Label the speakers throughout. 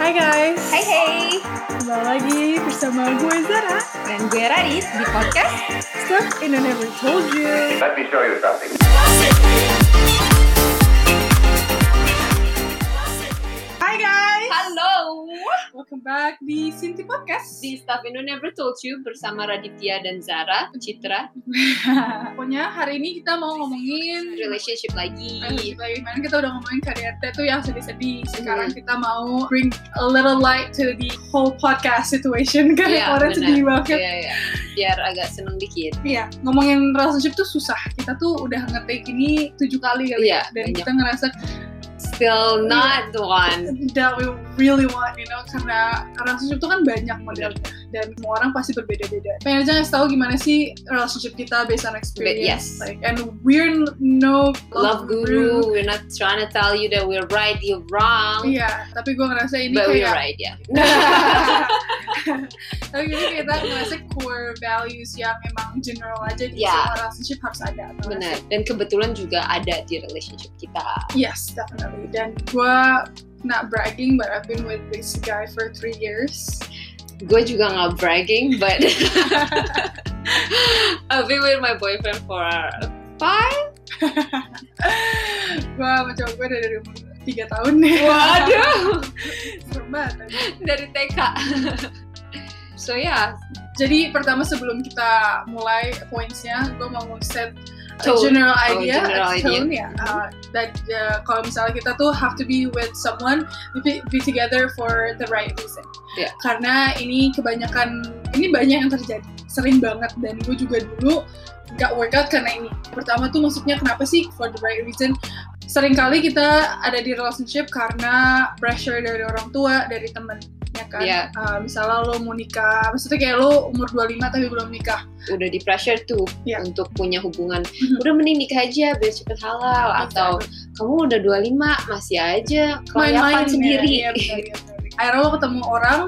Speaker 1: Hai guys.
Speaker 2: Hai hai,
Speaker 1: Kembali lagi bersama gue Zara.
Speaker 2: dan gue Raris di podcast
Speaker 1: Stuff in I Never Told You.
Speaker 3: Let me show you something.
Speaker 1: Hai guys.
Speaker 2: Halo
Speaker 1: Welcome back di Sinti Podcast.
Speaker 2: Di Staff Indo Never Told You bersama Raditya dan Zara, Citra,
Speaker 1: Pokoknya hari ini kita mau ngomongin
Speaker 2: relationship lagi
Speaker 1: Relationship lagi. Kemarin kita udah ngomongin karir tuh yang sedih-sedih.
Speaker 2: Iya.
Speaker 1: Sekarang kita mau bring a little light to the whole podcast situation. Kan
Speaker 2: Iya,
Speaker 1: orang
Speaker 2: benar.
Speaker 1: sedih banget.
Speaker 2: Iya, iya. biar agak seneng dikit
Speaker 1: Iya, ngomongin relationship tuh susah. Kita tuh udah ngetik ini tujuh kali kali ya.
Speaker 2: Iya,
Speaker 1: Dan
Speaker 2: banyak.
Speaker 1: kita ngerasa
Speaker 2: Still not the one
Speaker 1: that we really want, you know, karena relationship itu kan banyak modelnya dan semua orang pasti berbeda-beda. Pengen aja ngasih tahu gimana sih relationship kita based on experience,
Speaker 2: yes.
Speaker 1: like, and we're n- no
Speaker 2: Love guru, we're not trying to tell you that we're right, you're wrong
Speaker 1: Iya, tapi gue ngerasa ini
Speaker 2: But we're
Speaker 1: kayak
Speaker 2: right, ya
Speaker 1: tapi ini kita ngerasa core values yang emang general aja di
Speaker 2: Iya.
Speaker 1: semua relationship harus ada. atau
Speaker 2: Benar, dan kebetulan juga ada di relationship kita
Speaker 1: Yes, definitely. Dan gue not bragging, but I've been with this guy for three years.
Speaker 2: Gue juga nggak bragging, but I've been with my boyfriend for five
Speaker 1: gue sama cowok gue dari umur 3 tahun nih
Speaker 2: Waduh
Speaker 1: Serem banget.
Speaker 2: dari TK. so ya,
Speaker 1: jadi pertama sebelum kita mulai pointsnya gue mau set a
Speaker 2: Tone.
Speaker 1: general
Speaker 2: Oh,
Speaker 1: idea,
Speaker 2: general
Speaker 1: a
Speaker 2: idea. Mm-hmm.
Speaker 1: tone, ya. Uh, that uh, kalau misalnya kita tuh have to be with someone, be, be together for the right reason.
Speaker 2: Yeah.
Speaker 1: Karena ini kebanyakan, ini banyak yang terjadi, sering banget. Dan gue juga dulu gak workout karena ini. Pertama tuh maksudnya kenapa sih for the right reason? Seringkali kita ada di relationship karena pressure dari orang tua, dari temen. Ya kan?
Speaker 2: Iya.
Speaker 1: Uh, misalnya lo mau nikah, maksudnya kayak lo umur 25 tapi belum nikah.
Speaker 2: udah di pressure tuh
Speaker 1: Iya.
Speaker 2: untuk punya hubungan.
Speaker 1: Mhm.
Speaker 2: Udah mending nikah aja biar cepet halal atau kamu udah 25 masih aja
Speaker 1: ya.
Speaker 2: kelayapan sendiri.
Speaker 1: Iya, benar, iya, benar. Akhirnya lo ketemu orang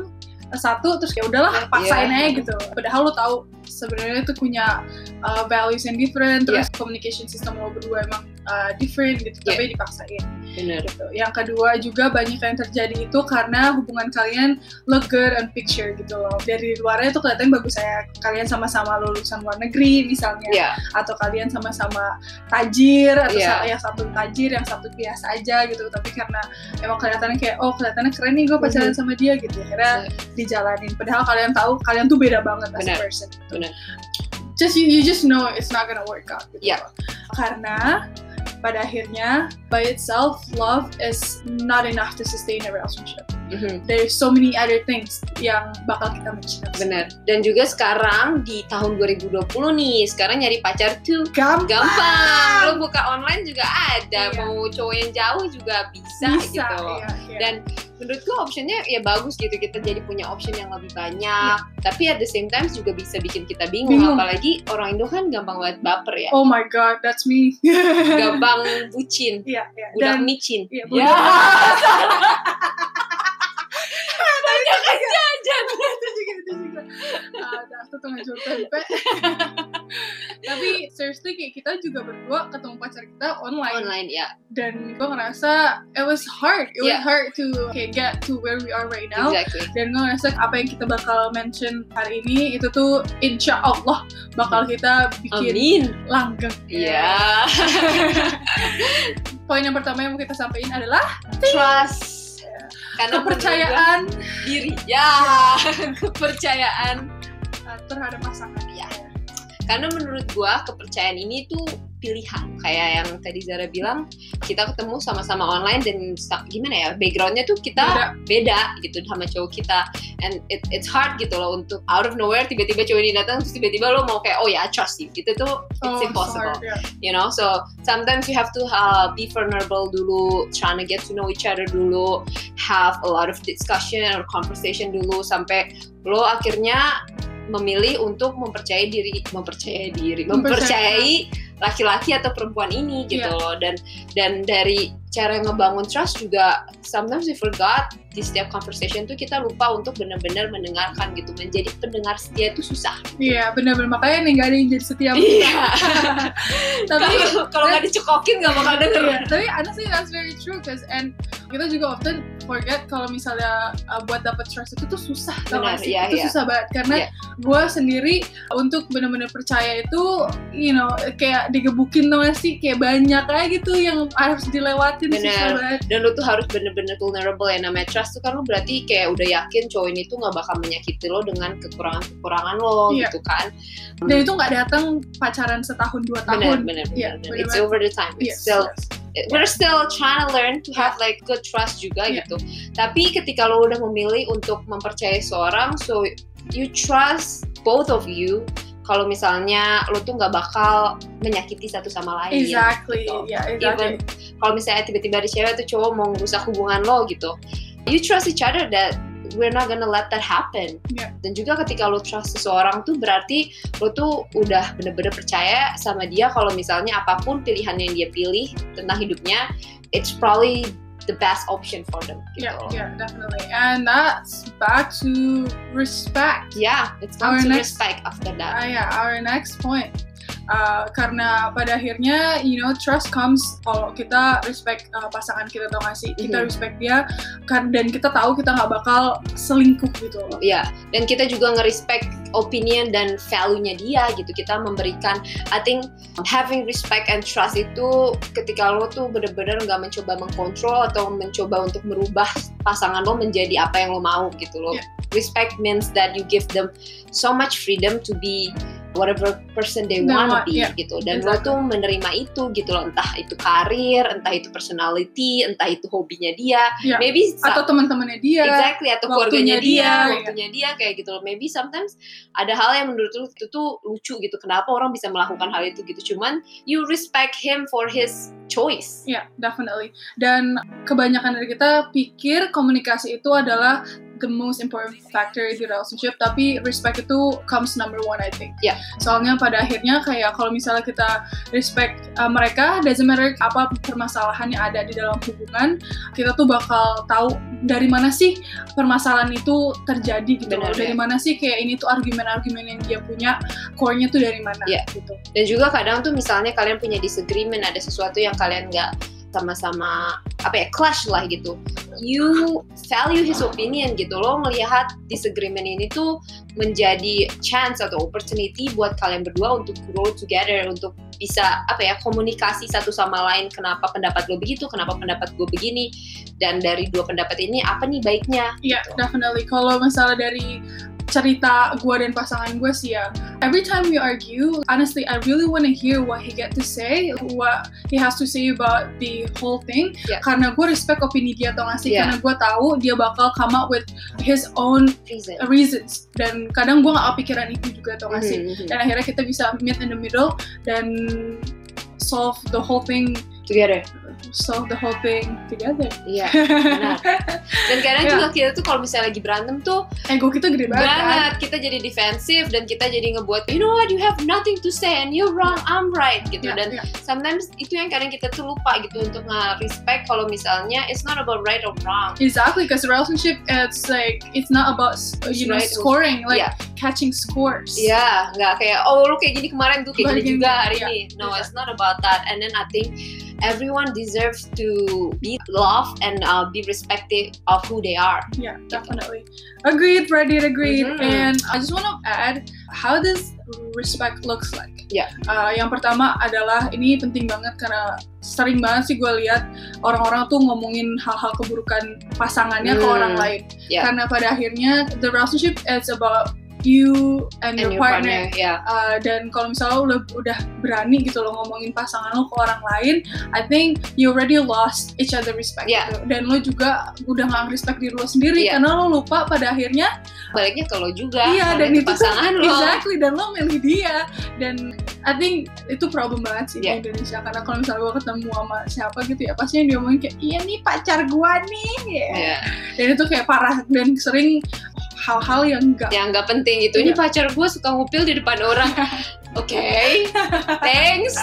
Speaker 1: eh, satu terus ya udahlah paksain
Speaker 2: Iya.
Speaker 1: aja gitu. Padahal lo tahu sebenarnya itu punya uh, values yang different, terus communication system lo berdua emang uh, different gitu, tapi dipaksain
Speaker 2: Bener.
Speaker 1: gitu. Yang kedua juga banyak yang terjadi itu karena hubungan kalian look good on picture gitu loh. Dari luarnya itu kelihatan bagus saya kalian sama-sama lulusan luar negeri misalnya
Speaker 2: Ya,
Speaker 1: atau kalian sama-sama tajir atau
Speaker 2: Iya.
Speaker 1: sa- yang satu tajir yang satu biasa aja gitu tapi karena emang kelihatannya kayak oh kelihatannya keren nih gue
Speaker 2: Mhm.
Speaker 1: pacaran sama dia gitu akhirnya dijalanin padahal kalian tahu kalian tuh beda banget as a
Speaker 2: Iya. Benar,
Speaker 1: person gitu.
Speaker 2: benar.
Speaker 1: just you, you just know it's not gonna work out gitu
Speaker 2: Iya.
Speaker 1: loh. karena pada akhirnya by itself love is not enough to sustain a relationship
Speaker 2: mhm,
Speaker 1: there's so many other things yang bakal kita mention
Speaker 2: bener. Dan juga sekarang di tahun 2020 nih, sekarang nyari pacar tuh
Speaker 1: gampang
Speaker 2: gampang. Lo buka online juga ada,
Speaker 1: Iya.
Speaker 2: mau cowok yang jauh juga bisa,
Speaker 1: bisa
Speaker 2: gitu.
Speaker 1: iya, iya.
Speaker 2: Dan menurut gue optionnya ya bagus gitu kita jadi punya option yang lebih banyak tapi at the same time juga bisa bikin kita bingung,
Speaker 1: Iya. Bingung.
Speaker 2: apalagi orang Indo kan gampang banget baper ya
Speaker 1: oh my god that's me
Speaker 2: gampang bucin
Speaker 1: Iya, iya.
Speaker 2: udah
Speaker 1: Dan
Speaker 2: micin
Speaker 1: Iya,
Speaker 2: ya
Speaker 1: budak.
Speaker 2: jajan
Speaker 1: itu juga itu juga. Ah, Ada aku tengah jual tempe.
Speaker 2: Hmm.
Speaker 1: Tapi seriously kayak kita juga berdua ketemu pacar kita online,
Speaker 2: online ya
Speaker 1: dan gue ngerasa it was hard, it was
Speaker 2: Yeah.
Speaker 1: hard to kayak get to where we are right now.
Speaker 2: exactly
Speaker 1: Dan gue ngerasa apa yang kita bakal mention hari ini itu tuh insya Allah bakal kita bikin
Speaker 2: amin
Speaker 1: langgeng. Iya.
Speaker 2: ya
Speaker 1: Poin yang pertama yang mau kita sampaikan adalah
Speaker 2: trust karena
Speaker 1: Iya. kepercayaan
Speaker 2: menurut gua diri ya kepercayaan
Speaker 1: eh, terhadap pasangan.
Speaker 2: Ya. karena menurut gua kepercayaan ini tuh pilihan kayak yang tadi Zara bilang kita ketemu sama-sama online dan sa- gimana ya backgroundnya tuh kita
Speaker 1: Beda.
Speaker 2: beda gitu sama cowok kita and it, it's hard gitu loh untuk out of nowhere tiba-tiba cowok ini datang terus tiba-tiba lo mau kayak oh ya I trust you itu tuh
Speaker 1: Oh,
Speaker 2: it's impossible
Speaker 1: sorry, ya.
Speaker 2: you know so sometimes you have to uh, be vulnerable dulu trying to get to know each other dulu have a lot of discussion or conversation dulu sampai lo akhirnya memilih untuk mempercayai diri mempercayai diri mempercayai laki-laki atau perempuan ini gitu
Speaker 1: Iya.
Speaker 2: loh dan dan dari cara ngebangun trust juga sometimes we forgot di setiap conversation tuh kita lupa untuk benar-benar mendengarkan gitu menjadi pendengar setia itu susah
Speaker 1: Iya benar-benar makanya nih gak ada yang jadi setia sama kita.
Speaker 2: iya
Speaker 1: tapi
Speaker 2: kalau kalau nggak dicekokin nggak bakal denger
Speaker 1: Iya, tapi honestly that's very true cause and kita juga often forget kalau misalnya uh, buat dapet trust itu tuh susah tau
Speaker 2: Benar,
Speaker 1: gak sih?
Speaker 2: iya,
Speaker 1: itu
Speaker 2: iya.
Speaker 1: susah banget karena
Speaker 2: Iya.
Speaker 1: gue sendiri untuk bener-bener percaya itu you know kayak digebukin tau gak sih kayak banyak aja gitu yang harus dilewatin susah
Speaker 2: Benar.
Speaker 1: banget
Speaker 2: dan lu tuh harus bener-bener vulnerable ya namanya trust tuh kan lu berarti kayak udah yakin cowok ini tuh nggak bakal menyakiti lo dengan kekurangan-kekurangan lo
Speaker 1: Iya.
Speaker 2: gitu kan
Speaker 1: dan itu nggak datang pacaran setahun dua
Speaker 2: bener
Speaker 1: tahun
Speaker 2: bener
Speaker 1: Iya,
Speaker 2: bener bener. it's
Speaker 1: bener-bener.
Speaker 2: over the time it's
Speaker 1: Yes,
Speaker 2: still
Speaker 1: yes.
Speaker 2: we're still trying to learn to have like good trust juga
Speaker 1: Yeah.
Speaker 2: gitu. Tapi ketika lo udah memilih untuk mempercayai seorang, so you trust both of you. Kalau misalnya lo tuh nggak bakal menyakiti satu sama lain.
Speaker 1: exactly
Speaker 2: gitu.
Speaker 1: ya exactly
Speaker 2: Kalau misalnya tiba-tiba ada cewek tuh cowok mau ngerusak hubungan lo gitu, you trust each other that we're not gonna let that happen.
Speaker 1: Yeah.
Speaker 2: Dan juga ketika lo trust seseorang tuh berarti lo tuh udah bener-bener percaya sama dia kalau misalnya apapun pilihan yang dia pilih tentang hidupnya, it's probably the best option for them. Gitu.
Speaker 1: yeah yeah definitely and that's back to respect
Speaker 2: Yeah, it's
Speaker 1: Our
Speaker 2: come to
Speaker 1: next-
Speaker 2: respect after that.
Speaker 1: Ah ya, our next point. Uh, karena pada akhirnya, you know, trust comes kalau kita respect uh, pasangan kita tau gak sih? Kita
Speaker 2: Mhm.
Speaker 1: respect dia, kan dan kita tahu kita nggak bakal selingkuh gitu loh.
Speaker 2: Ya, dan kita juga nge-respect opinion dan value-nya dia gitu. Kita memberikan, I think having respect and trust itu ketika lo tuh bener-bener nggak mencoba mengkontrol atau mencoba untuk merubah pasangan lo menjadi apa yang lo mau gitu loh.
Speaker 1: Ya.
Speaker 2: Respect means that you give them so much freedom to be whatever person
Speaker 1: They
Speaker 2: they wanna
Speaker 1: want,
Speaker 2: be
Speaker 1: ya.
Speaker 2: gitu. Dan lo
Speaker 1: Exactly.
Speaker 2: tuh menerima itu gitu loh. Entah itu karir, entah itu personality, entah itu hobinya dia.
Speaker 1: Ya.
Speaker 2: Maybe sa-
Speaker 1: Atau teman-temannya dia.
Speaker 2: exactly atau
Speaker 1: waktunya
Speaker 2: keluarganya
Speaker 1: dia,
Speaker 2: dia,
Speaker 1: iya.
Speaker 2: waktunya dia kayak gitu loh. Maybe sometimes ada hal yang menurut lu itu tuh lucu gitu. Kenapa orang bisa melakukan hal itu gitu? Cuman you respect him for his choice.
Speaker 1: Ya, definitely. Dan kebanyakan dari kita pikir komunikasi itu adalah the most important factor di relationship, tapi respect itu comes number one, I think.
Speaker 2: Ya.
Speaker 1: Soalnya pada akhirnya kayak kalau misalnya kita respect uh, mereka, doesn't matter apa permasalahan yang ada di dalam hubungan, kita tuh bakal tahu dari mana sih permasalahan itu terjadi gitu loh.
Speaker 2: Benar,
Speaker 1: Dari
Speaker 2: ya.
Speaker 1: mana sih kayak ini tuh argumen-argumen yang dia punya, core-nya tuh dari mana
Speaker 2: Ya.
Speaker 1: gitu.
Speaker 2: Dan juga kadang tuh misalnya kalian punya disagreement, ada sesuatu yang kalian nggak sama-sama apa ya clash lah gitu. You value his opinion gitu loh melihat disagreement ini tuh menjadi chance atau opportunity buat kalian berdua untuk grow together untuk bisa apa ya komunikasi satu sama lain kenapa pendapat gue begitu kenapa pendapat gue begini dan dari dua pendapat ini apa nih baiknya
Speaker 1: Iya,
Speaker 2: Gitu.
Speaker 1: definitely. Kalau misalnya dari cerita gue dan pasangan gue sih ya, every time we argue, honestly, I really wanna hear what he get to say, what he has to say about the whole thing.
Speaker 2: Yeah.
Speaker 1: Karena gue respect opini dia atau ngasih,
Speaker 2: Yeah.
Speaker 1: karena gue tahu dia bakal come up with his own
Speaker 2: reason
Speaker 1: reasons. Dan kadang gue gak kepikiran itu juga atau ngasih.
Speaker 2: Mhm, mhm.
Speaker 1: Dan akhirnya kita bisa meet in the middle dan solve the whole thing,
Speaker 2: together
Speaker 1: solve the whole thing together.
Speaker 2: iya benar dan kadang
Speaker 1: Iya.
Speaker 2: juga kita tuh kalau misalnya lagi berantem tuh
Speaker 1: Ego kita gede banget. kan?
Speaker 2: banget kita jadi defensif dan kita jadi ngebuat you know what you have nothing to say and you're wrong I'm right gitu
Speaker 1: Iya,
Speaker 2: dan
Speaker 1: iya.
Speaker 2: sometimes itu yang kadang kita tuh lupa gitu untuk nge-respect kalau misalnya it's not about right or wrong
Speaker 1: Exactly, because relationship it's like it's not about uh, you know
Speaker 2: Right.
Speaker 1: scoring, like
Speaker 2: Yeah.
Speaker 1: catching scores.
Speaker 2: Iya, nggak kayak oh lu kayak gini kemarin gue kayak
Speaker 1: Kemarin
Speaker 2: gini
Speaker 1: gini,
Speaker 2: juga hari
Speaker 1: iya.
Speaker 2: ini. No, it's not about that. And then I think everyone deserves to be loved and uh, be respected of who they are.
Speaker 1: Yeah, definitely. Agreed, Reddit, agreed.
Speaker 2: Mhm.
Speaker 1: And I just want to add how this respect looks like.
Speaker 2: Yeah.
Speaker 1: Uh, yang pertama adalah ini penting banget karena sering banget sih gue lihat orang-orang tuh ngomongin hal-hal keburukan pasangannya ke
Speaker 2: Hmm.
Speaker 1: orang lain.
Speaker 2: Yeah.
Speaker 1: Karena pada akhirnya the relationship is about you and,
Speaker 2: And
Speaker 1: your, partner.
Speaker 2: yeah.
Speaker 1: Uh, dan kalau misalnya lo udah, udah berani gitu lo ngomongin pasangan lo ke orang lain, I think you already lost each other respect
Speaker 2: Yeah.
Speaker 1: gitu. Dan lo juga udah nggak respect diri lo sendiri
Speaker 2: Yeah.
Speaker 1: karena lo lupa pada akhirnya
Speaker 2: Baliknya ke lo juga.
Speaker 1: iya dan
Speaker 2: balik
Speaker 1: itu
Speaker 2: ke pasangan
Speaker 1: tuh,
Speaker 2: lo.
Speaker 1: exactly dan lo milih dia dan I think itu problem banget sih
Speaker 2: Yeah.
Speaker 1: di Indonesia karena kalau misalnya gue ketemu sama siapa gitu ya pasti yang diomongin kayak iya nih pacar gua nih
Speaker 2: Iya.
Speaker 1: dan itu kayak parah dan sering hal-hal yang enggak
Speaker 2: Yang Ya, nggak penting itu
Speaker 1: Iya.
Speaker 2: ini pacar gue suka ngupil di depan orang. Oke, thanks.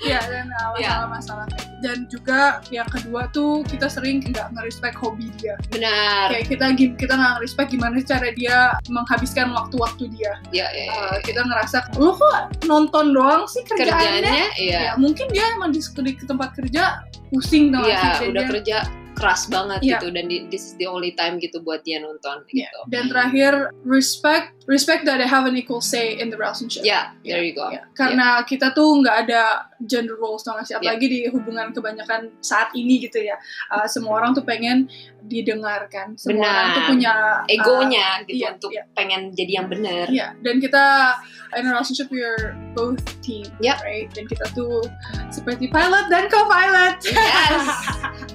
Speaker 1: ya dan uh,
Speaker 2: Yeah. Iya.
Speaker 1: Iya, kan? Nah, masalah-masalah kayak gitu dan juga yang kedua tuh kita sering nggak ngerespek hobi dia
Speaker 2: benar
Speaker 1: kayak kita gim- kita nggak ngerespek gimana cara dia menghabiskan waktu-waktu dia
Speaker 2: ya, ya, ya.
Speaker 1: Eh, kita ngerasa lu kok nonton doang sih kerjaannya
Speaker 2: kerjanya ya
Speaker 1: ya mungkin dia emang di, di tempat kerja pusing tau gak
Speaker 2: Iya,
Speaker 1: sih? Dan
Speaker 2: udah
Speaker 1: dia-
Speaker 2: kerja keras banget
Speaker 1: Iya.
Speaker 2: gitu dan di, this is the only time gitu buat dia nonton
Speaker 1: Iya.
Speaker 2: gitu.
Speaker 1: Dan terakhir respect, respect that they have an equal say in the relationship.
Speaker 2: Ya, there you go.
Speaker 1: Ya, Karena kita tuh nggak ada gender roles tau gak
Speaker 2: Iya.
Speaker 1: sih? Apalagi di hubungan kebanyakan saat ini gitu ya. Uh, semua orang tuh pengen didengarkan. Semua
Speaker 2: Benar.
Speaker 1: orang tuh punya uh,
Speaker 2: Egonya gitu
Speaker 1: iya,
Speaker 2: untuk
Speaker 1: iya.
Speaker 2: pengen jadi yang benar.
Speaker 1: Iya. Dan kita in a relationship we're both team,
Speaker 2: Yep.
Speaker 1: right? Dan kita tuh seperti pilot dan co-pilot.
Speaker 2: Yes.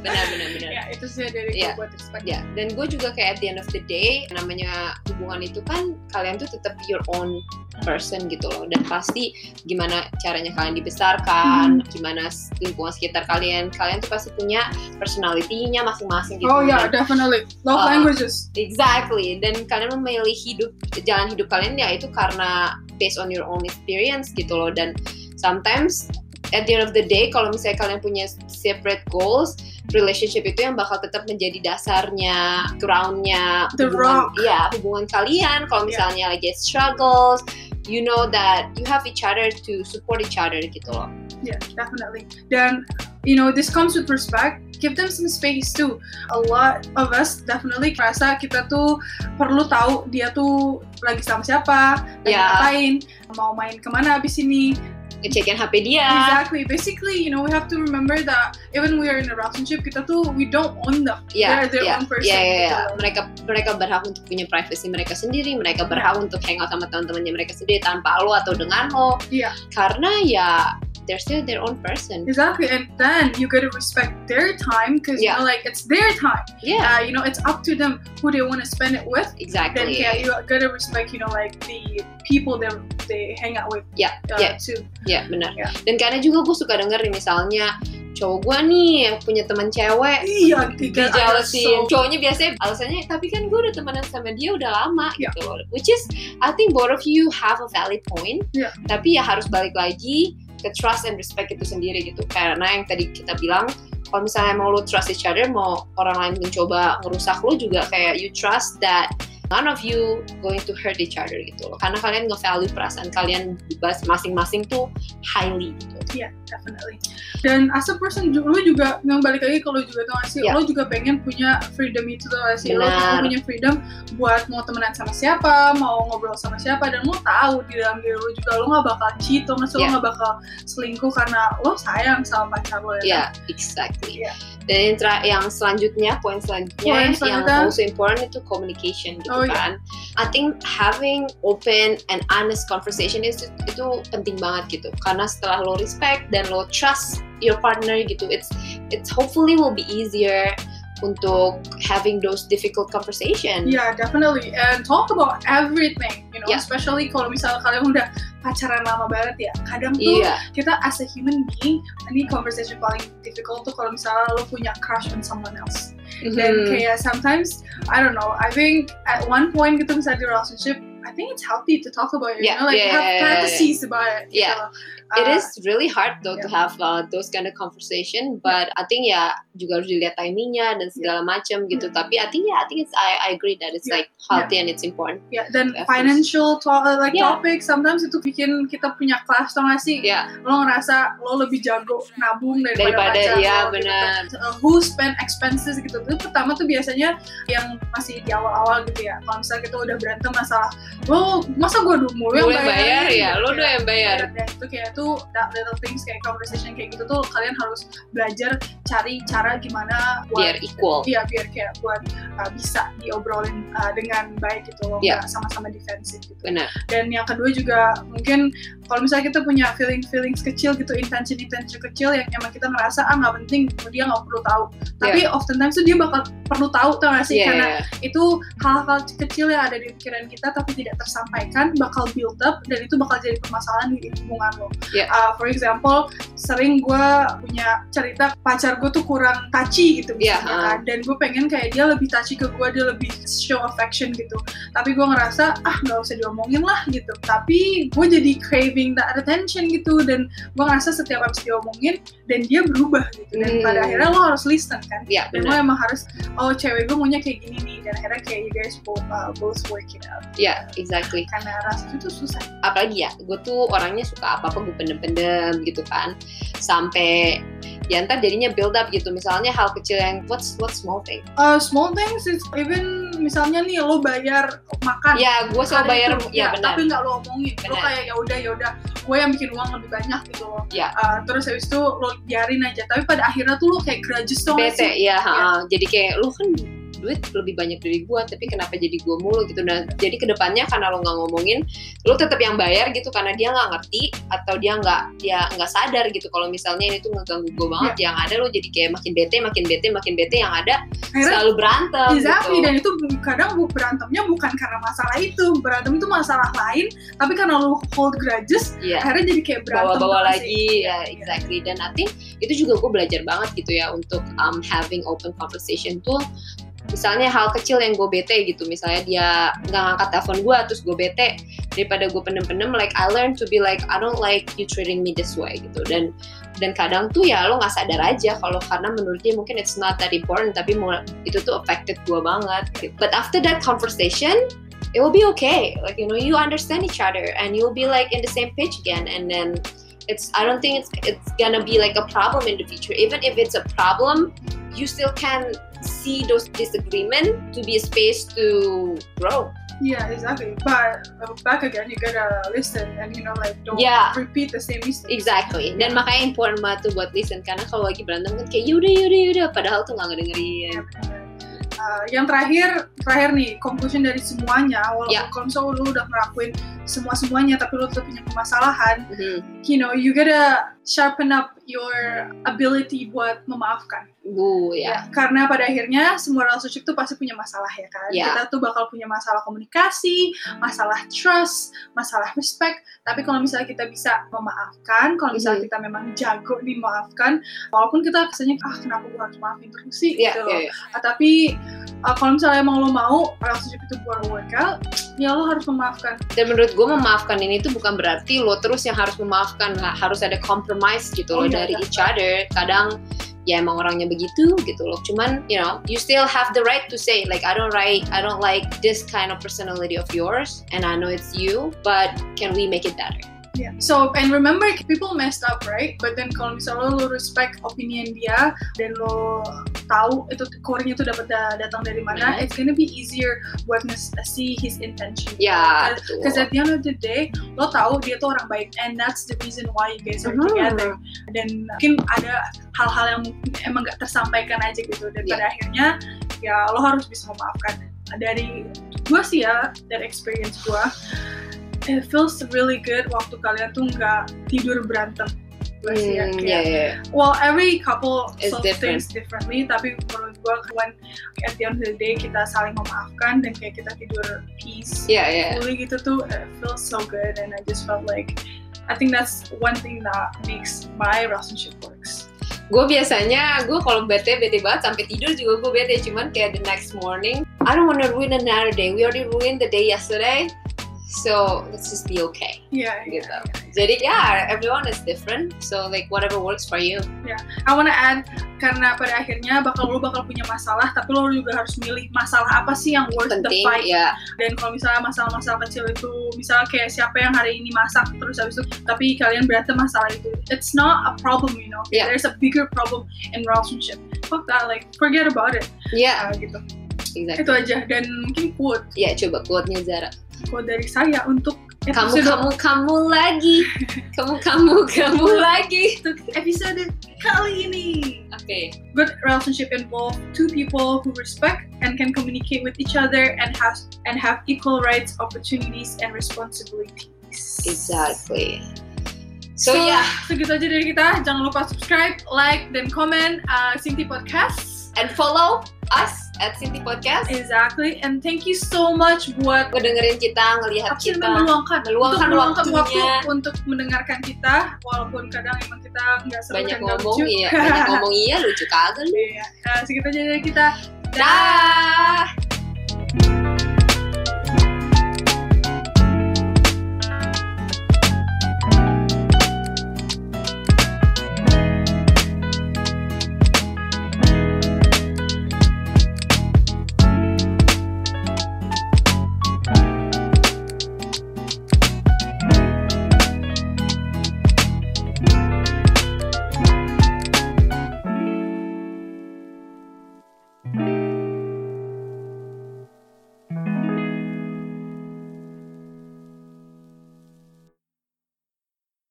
Speaker 2: benar benar benar.
Speaker 1: ya itu sih dari
Speaker 2: Iya.
Speaker 1: gue buat respect.
Speaker 2: Ya, dan gue juga kayak at the end of the day, namanya hubungan itu kan kalian tuh tetap your own person gitu loh. Dan pasti gimana caranya kalian dibesarkan,
Speaker 1: Hmm.
Speaker 2: gimana s- lingkungan sekitar kalian, kalian tuh pasti punya personality-nya masing-masing gitu.
Speaker 1: Oh ya,
Speaker 2: Dan
Speaker 1: definitely. Love
Speaker 2: Uh,
Speaker 1: languages.
Speaker 2: Exactly. Dan kalian memilih hidup jalan hidup kalian ya itu karena based on your own experience gitu loh. Dan sometimes at the end of the day kalau misalnya kalian punya separate goals, relationship itu yang bakal tetap menjadi dasarnya, groundnya,
Speaker 1: The
Speaker 2: hubungan, ya hubungan kalian. Kalau
Speaker 1: Yeah.
Speaker 2: misalnya lagi struggles, you know that you have each other to support each other gitu loh.
Speaker 1: Yeah, definitely. Then, you know, this comes with respect. Give them some space too. A lot of us definitely merasa kita tuh perlu tahu dia tuh lagi sama siapa, lagi
Speaker 2: Yeah.
Speaker 1: ngapain, mau main kemana abis ini.
Speaker 2: Ngecekin HP dia.
Speaker 1: Exactly. Basically, you know, we have to remember that even we are in a relationship, kita tuh we don't own them.
Speaker 2: Ya,
Speaker 1: They're their
Speaker 2: ya,
Speaker 1: own person,
Speaker 2: ya, ya,
Speaker 1: gitu
Speaker 2: ya.
Speaker 1: loh.
Speaker 2: mereka mereka berhak untuk punya privacy mereka sendiri, mereka berhak untuk hangout sama teman-temannya mereka sendiri tanpa lo atau dengan lo.
Speaker 1: Iya.
Speaker 2: Karena ya they're still their own person.
Speaker 1: Exactly, and then you gotta respect their time because you
Speaker 2: Yeah.
Speaker 1: know, like it's their time.
Speaker 2: Yeah,
Speaker 1: Uh, you know, it's up to them who they want to spend it with. then
Speaker 2: exactly.
Speaker 1: yeah, you gotta respect, you know, like the people that they hang out with.
Speaker 2: Yeah,
Speaker 1: uh,
Speaker 2: yeah.
Speaker 1: Too.
Speaker 2: Ya benar.
Speaker 1: Ya.
Speaker 2: Dan karena juga gue suka denger nih misalnya cowok gue nih punya teman cewek
Speaker 1: Yeah, they get out of so-
Speaker 2: dijalesin. Cowoknya biasanya alasannya tapi kan gue udah temenan sama dia udah lama
Speaker 1: Ya.
Speaker 2: gitu loh. Which is I think both of you have a valid point.
Speaker 1: Ya.
Speaker 2: Tapi ya harus balik lagi ke trust and respect itu sendiri gitu. Karena yang tadi kita bilang kalau misalnya mau lo trust each other, mau orang lain mencoba ngerusak lo juga kayak you trust that none of you going to hurt each other gitu loh. Karena kalian nge-value perasaan kalian bebas masing-masing tuh highly gitu.
Speaker 1: definitely. Dan as a person, ju- lu juga yang balik lagi kalau juga tau gak sih,
Speaker 2: Yeah.
Speaker 1: lu juga pengen punya freedom itu tau gak sih, lu
Speaker 2: Benar.
Speaker 1: juga punya freedom buat mau temenan sama siapa, mau ngobrol sama siapa, dan lu tahu di dalam diri lu juga lu gak bakal cheat, tau gak sih,
Speaker 2: Yeah.
Speaker 1: lu gak bakal selingkuh karena lu sayang sama pacar lu ya. kan?
Speaker 2: Ya, exactly.
Speaker 1: Iya.
Speaker 2: Dan yang, tera- yang selanjutnya, poin selanjutnya,
Speaker 1: Poin
Speaker 2: yang
Speaker 1: selanjutnya.
Speaker 2: also important itu communication gitu
Speaker 1: Oh, iya.
Speaker 2: kan. I think having open and honest conversation is, itu penting banget gitu. Karena setelah lo respect dan lo trust your partner gitu, it's it's hopefully will be easier untuk having those difficult conversation.
Speaker 1: Yeah, definitely. And talk about everything, you know,
Speaker 2: Yeah.
Speaker 1: especially kalau misalnya kalian udah pacaran lama banget ya. Kadang tuh
Speaker 2: Iya,
Speaker 1: kita as a human being, ini conversation paling difficult tuh kalau misalnya lo punya crush on someone else. Dan
Speaker 2: Mhm.
Speaker 1: kayak sometimes, I don't know, I think at one point gitu misalnya di relationship, I think it's healthy to talk about it, you
Speaker 2: Yeah,
Speaker 1: know, like
Speaker 2: yeah,
Speaker 1: have
Speaker 2: yeah, yeah, yeah.
Speaker 1: fantasies about it.
Speaker 2: Yeah.
Speaker 1: gitu.
Speaker 2: it
Speaker 1: Uh,
Speaker 2: is really hard though
Speaker 1: iya.
Speaker 2: to have uh, those kind of conversation but I think ya juga harus dilihat timingnya
Speaker 1: Iya.
Speaker 2: dan segala macam
Speaker 1: Hmm.
Speaker 2: gitu tapi I think ya I think it's I, I agree that it's
Speaker 1: Yeah.
Speaker 2: like healthy
Speaker 1: Iya.
Speaker 2: and it's important
Speaker 1: yeah, dan
Speaker 2: Efforts.
Speaker 1: financial to uh, like
Speaker 2: Yeah.
Speaker 1: topic sometimes itu bikin kita punya kelas tau gak sih?
Speaker 2: ya
Speaker 1: lo ngerasa lo lebih jago nabung daripada,
Speaker 2: Daripada,
Speaker 1: pacar
Speaker 2: iya,
Speaker 1: lo, gitu.
Speaker 2: benar.
Speaker 1: Uh, who spend expenses gitu itu pertama tuh biasanya yang masih di awal-awal gitu ya kalau misalnya kita udah berantem masalah lo masa gue dulu mulu
Speaker 2: lo
Speaker 1: yang
Speaker 2: yang bayar ya lo
Speaker 1: Gitu.
Speaker 2: udah yang bayar
Speaker 1: Dan itu kayak tuh that little things kayak conversation kayak gitu tuh kalian harus belajar cari cara gimana buat
Speaker 2: biar equal
Speaker 1: Iya biar kayak buat uh, bisa diobrolin uh, dengan baik gitu loh,
Speaker 2: Iya.
Speaker 1: nggak sama-sama defensif gitu
Speaker 2: benar
Speaker 1: dan yang kedua juga mungkin kalau misalnya kita punya feeling feelings kecil gitu intention intention kecil yang emang kita ngerasa ah nggak penting dia nggak perlu tahu tapi oftentimes tuh dia bakal perlu tahu tau gak sih
Speaker 2: Iya,
Speaker 1: karena
Speaker 2: iya.
Speaker 1: itu hal-hal kecil yang ada di pikiran kita tapi tidak tersampaikan bakal build up dan itu bakal jadi permasalahan di hubungan lo
Speaker 2: Yeah.
Speaker 1: Uh, for example, sering gue punya cerita pacar gue tuh kurang touchy gitu
Speaker 2: Yeah,
Speaker 1: misalnya kan. Dan gue pengen kayak dia lebih touchy ke gue, dia lebih show affection gitu. Tapi gue ngerasa ah nggak usah diomongin lah gitu. Tapi gue jadi craving that attention gitu dan gue ngerasa setiap abis diomongin dan dia berubah gitu. Dan
Speaker 2: Hmm.
Speaker 1: pada akhirnya lo harus listen kan.
Speaker 2: ya
Speaker 1: Dan lo
Speaker 2: benar
Speaker 1: emang harus oh cewek gue maunya kayak gini nih dan akhirnya kayak you guys both, uh, both work it out
Speaker 2: ya exactly
Speaker 1: karena rasa itu tuh susah
Speaker 2: apalagi ya gue tuh orangnya suka apa apa gue pendem-pendem gitu kan sampai ya ntar jadinya build up gitu misalnya hal kecil yang what's what small thing
Speaker 1: Uh, small things is even misalnya nih lo bayar makan
Speaker 2: ya gue selalu
Speaker 1: Hari
Speaker 2: bayar
Speaker 1: Kan itu,
Speaker 2: ya benar
Speaker 1: tapi nggak lo omongin lo
Speaker 2: Benar.
Speaker 1: kayak ya udah ya udah gue yang bikin uang lebih banyak gitu loh
Speaker 2: Ya.
Speaker 1: Uh, terus habis itu lo biarin aja tapi pada akhirnya tuh lo kayak grudges tuh nggak
Speaker 2: bete
Speaker 1: sih?
Speaker 2: ya, ha, jadi kayak lu kan duit lebih banyak dari gua tapi kenapa jadi gua mulu gitu nah jadi kedepannya karena lo nggak ngomongin lu tetap yang bayar gitu karena dia nggak ngerti atau dia nggak dia nggak sadar gitu kalau misalnya ini tuh ngeganggu
Speaker 1: Iya.
Speaker 2: gua banget yang ada lu jadi kayak makin bete makin bete makin bete yang ada
Speaker 1: akhirnya
Speaker 2: selalu berantem
Speaker 1: Exactly,
Speaker 2: gitu
Speaker 1: dan itu bu- kadang bu- berantemnya bukan karena masalah itu berantem itu masalah lain tapi karena lo hold grudges
Speaker 2: Iya.
Speaker 1: akhirnya jadi kayak berantem
Speaker 2: bawa-bawa
Speaker 1: terus sih. Iya,
Speaker 2: lagi ya exactly dan I think itu juga gue belajar banget gitu ya untuk um, having open conversation tuh misalnya hal kecil yang gue bete gitu misalnya dia nggak ngangkat telepon gue terus gue bete daripada gue pendem-pendem like I learn to be like I don't like you treating me this way gitu dan dan kadang tuh ya lo nggak sadar aja kalau karena menurut dia mungkin it's not that important tapi mau itu tuh affected gue banget gitu. but after that conversation it will be okay. Like you know, you understand each other, and you'll be like in the same pitch again. And then it's I don't think it's it's gonna be like a problem in the future. Even if it's a problem, you still can see those disagreement to be a space to grow.
Speaker 1: Yeah, exactly. But uh, back again, you gotta listen and you know, like don't
Speaker 2: Yeah.
Speaker 1: repeat the same mistake.
Speaker 2: Exactly. Dan makanya important banget tuh buat listen karena kalau lagi berantem kan kayak yaudah yaudah yaudah padahal tuh nggak ngedengerin.
Speaker 1: Uh, yang terakhir, terakhir nih, conclusion dari semuanya. Walaupun
Speaker 2: Yeah.
Speaker 1: kalau misalnya lu udah ngelakuin semua semuanya, tapi lu tetap punya permasalahan,
Speaker 2: Mhm.
Speaker 1: you know, you gotta sharpen up your ability buat memaafkan.
Speaker 2: Bu ya.
Speaker 1: Ya, Karena pada akhirnya semua relationship tuh pasti punya masalah ya kan.
Speaker 2: Yeah.
Speaker 1: Kita tuh bakal punya masalah komunikasi,
Speaker 2: Hmm.
Speaker 1: masalah trust, masalah respect. Tapi kalau misalnya kita bisa memaafkan, kalau misalnya
Speaker 2: Mhm.
Speaker 1: kita memang jago nih memaafkan, walaupun kita rasanya ah kenapa gue harus maafin terus sih
Speaker 2: Ya,
Speaker 1: gitu.
Speaker 2: ya, ya.
Speaker 1: Ah, tapi ah, kalau misalnya emang lo mau relationship itu buat workout, ya lo harus memaafkan.
Speaker 2: Dan menurut gue memaafkan ini tuh bukan berarti lo terus yang harus memaafkan lah, harus ada compromise gitu
Speaker 1: Oh,
Speaker 2: loh
Speaker 1: iya,
Speaker 2: dari
Speaker 1: iya.
Speaker 2: each other. Kadang ya emang orangnya begitu gitu loh. Cuman you know you still have the right to say like I don't like I don't like this kind of personality of yours and I know it's you, but can we make it better?
Speaker 1: Yeah. So and remember people messed up right, but then kalau misalnya lo respect opinion dia dan lo tahu itu core-nya itu dapat da- datang dari mana,
Speaker 2: Mhm.
Speaker 1: it's gonna be easier buat nge- see his intention.
Speaker 2: Ya
Speaker 1: Because
Speaker 2: betul.
Speaker 1: at the end of the day, lo tahu dia tuh orang baik, and that's the reason why you guys are
Speaker 2: Mhm.
Speaker 1: together. Dan mungkin ada hal-hal yang mungkin emang gak tersampaikan aja gitu.
Speaker 2: Iya.
Speaker 1: Dan pada akhirnya, ya lo harus bisa memaafkan. Dari gue sih ya, dari experience gue, it feels really good waktu kalian tuh nggak tidur berantem. Gue sih ya,
Speaker 2: Hmm,
Speaker 1: kayak-
Speaker 2: ya, ya, ya.
Speaker 1: well every couple
Speaker 2: It's
Speaker 1: solve
Speaker 2: different.
Speaker 1: things differently tapi menurut gue when at the end of the day kita saling memaafkan dan kayak kita tidur peace
Speaker 2: Ya, ya.
Speaker 1: fully gitu tuh it feels so good and I just felt like I think that's one thing that makes my relationship works
Speaker 2: gue biasanya gue kalau bete bete banget sampai tidur juga gue bete cuman kayak the next morning I don't wanna ruin another day we already ruined the day yesterday so let's just be okay
Speaker 1: yeah,
Speaker 2: gitu
Speaker 1: yeah.
Speaker 2: jadi yeah everyone is different so like whatever works for you
Speaker 1: I wanna add karena pada akhirnya bakal lo bakal punya masalah tapi lo juga harus milih masalah apa sih yang worth the
Speaker 2: penting
Speaker 1: fight
Speaker 2: ya
Speaker 1: dan kalau misalnya masalah-masalah kecil itu misalnya kayak siapa yang hari ini masak terus habis itu tapi kalian berantem masalah itu it's not a problem you know
Speaker 2: Yeah.
Speaker 1: there's a bigger problem in relationship fuck that like forget about it
Speaker 2: ya
Speaker 1: Ah, gitu
Speaker 2: exactly
Speaker 1: itu aja dan mungkin quote
Speaker 2: ya coba quote-nya Zara
Speaker 1: quote dari saya untuk
Speaker 2: kamu
Speaker 1: episode
Speaker 2: kamu kamu lagi kamu kamu kamu lagi
Speaker 1: untuk episode kali ini
Speaker 2: oke
Speaker 1: good relationship involve two people who respect and can communicate with each other and have and have equal rights opportunities and responsibilities
Speaker 2: exactly
Speaker 1: So,
Speaker 2: so yeah
Speaker 1: segitu aja dari kita. Jangan lupa subscribe, like, dan komen uh, Sinti Podcast.
Speaker 2: and follow us at Sinti Podcast.
Speaker 1: Eh. Exactly. And thank you so much buat
Speaker 2: Ngedengerin kita, ngelihat
Speaker 1: Akhirnya
Speaker 2: kita.
Speaker 1: meluangkan,
Speaker 2: meluangkan
Speaker 1: untuk meluangkan waktu
Speaker 2: waktunya.
Speaker 1: untuk mendengarkan kita, walaupun kadang emang kita nggak seru
Speaker 2: Banyak
Speaker 1: dan nggak
Speaker 2: ngomong,
Speaker 1: lucu.
Speaker 2: iya. Banyak ngomong, iya. Lucu kagak lu.
Speaker 1: Iya. Nah, segitu aja dari kita.
Speaker 2: Dah!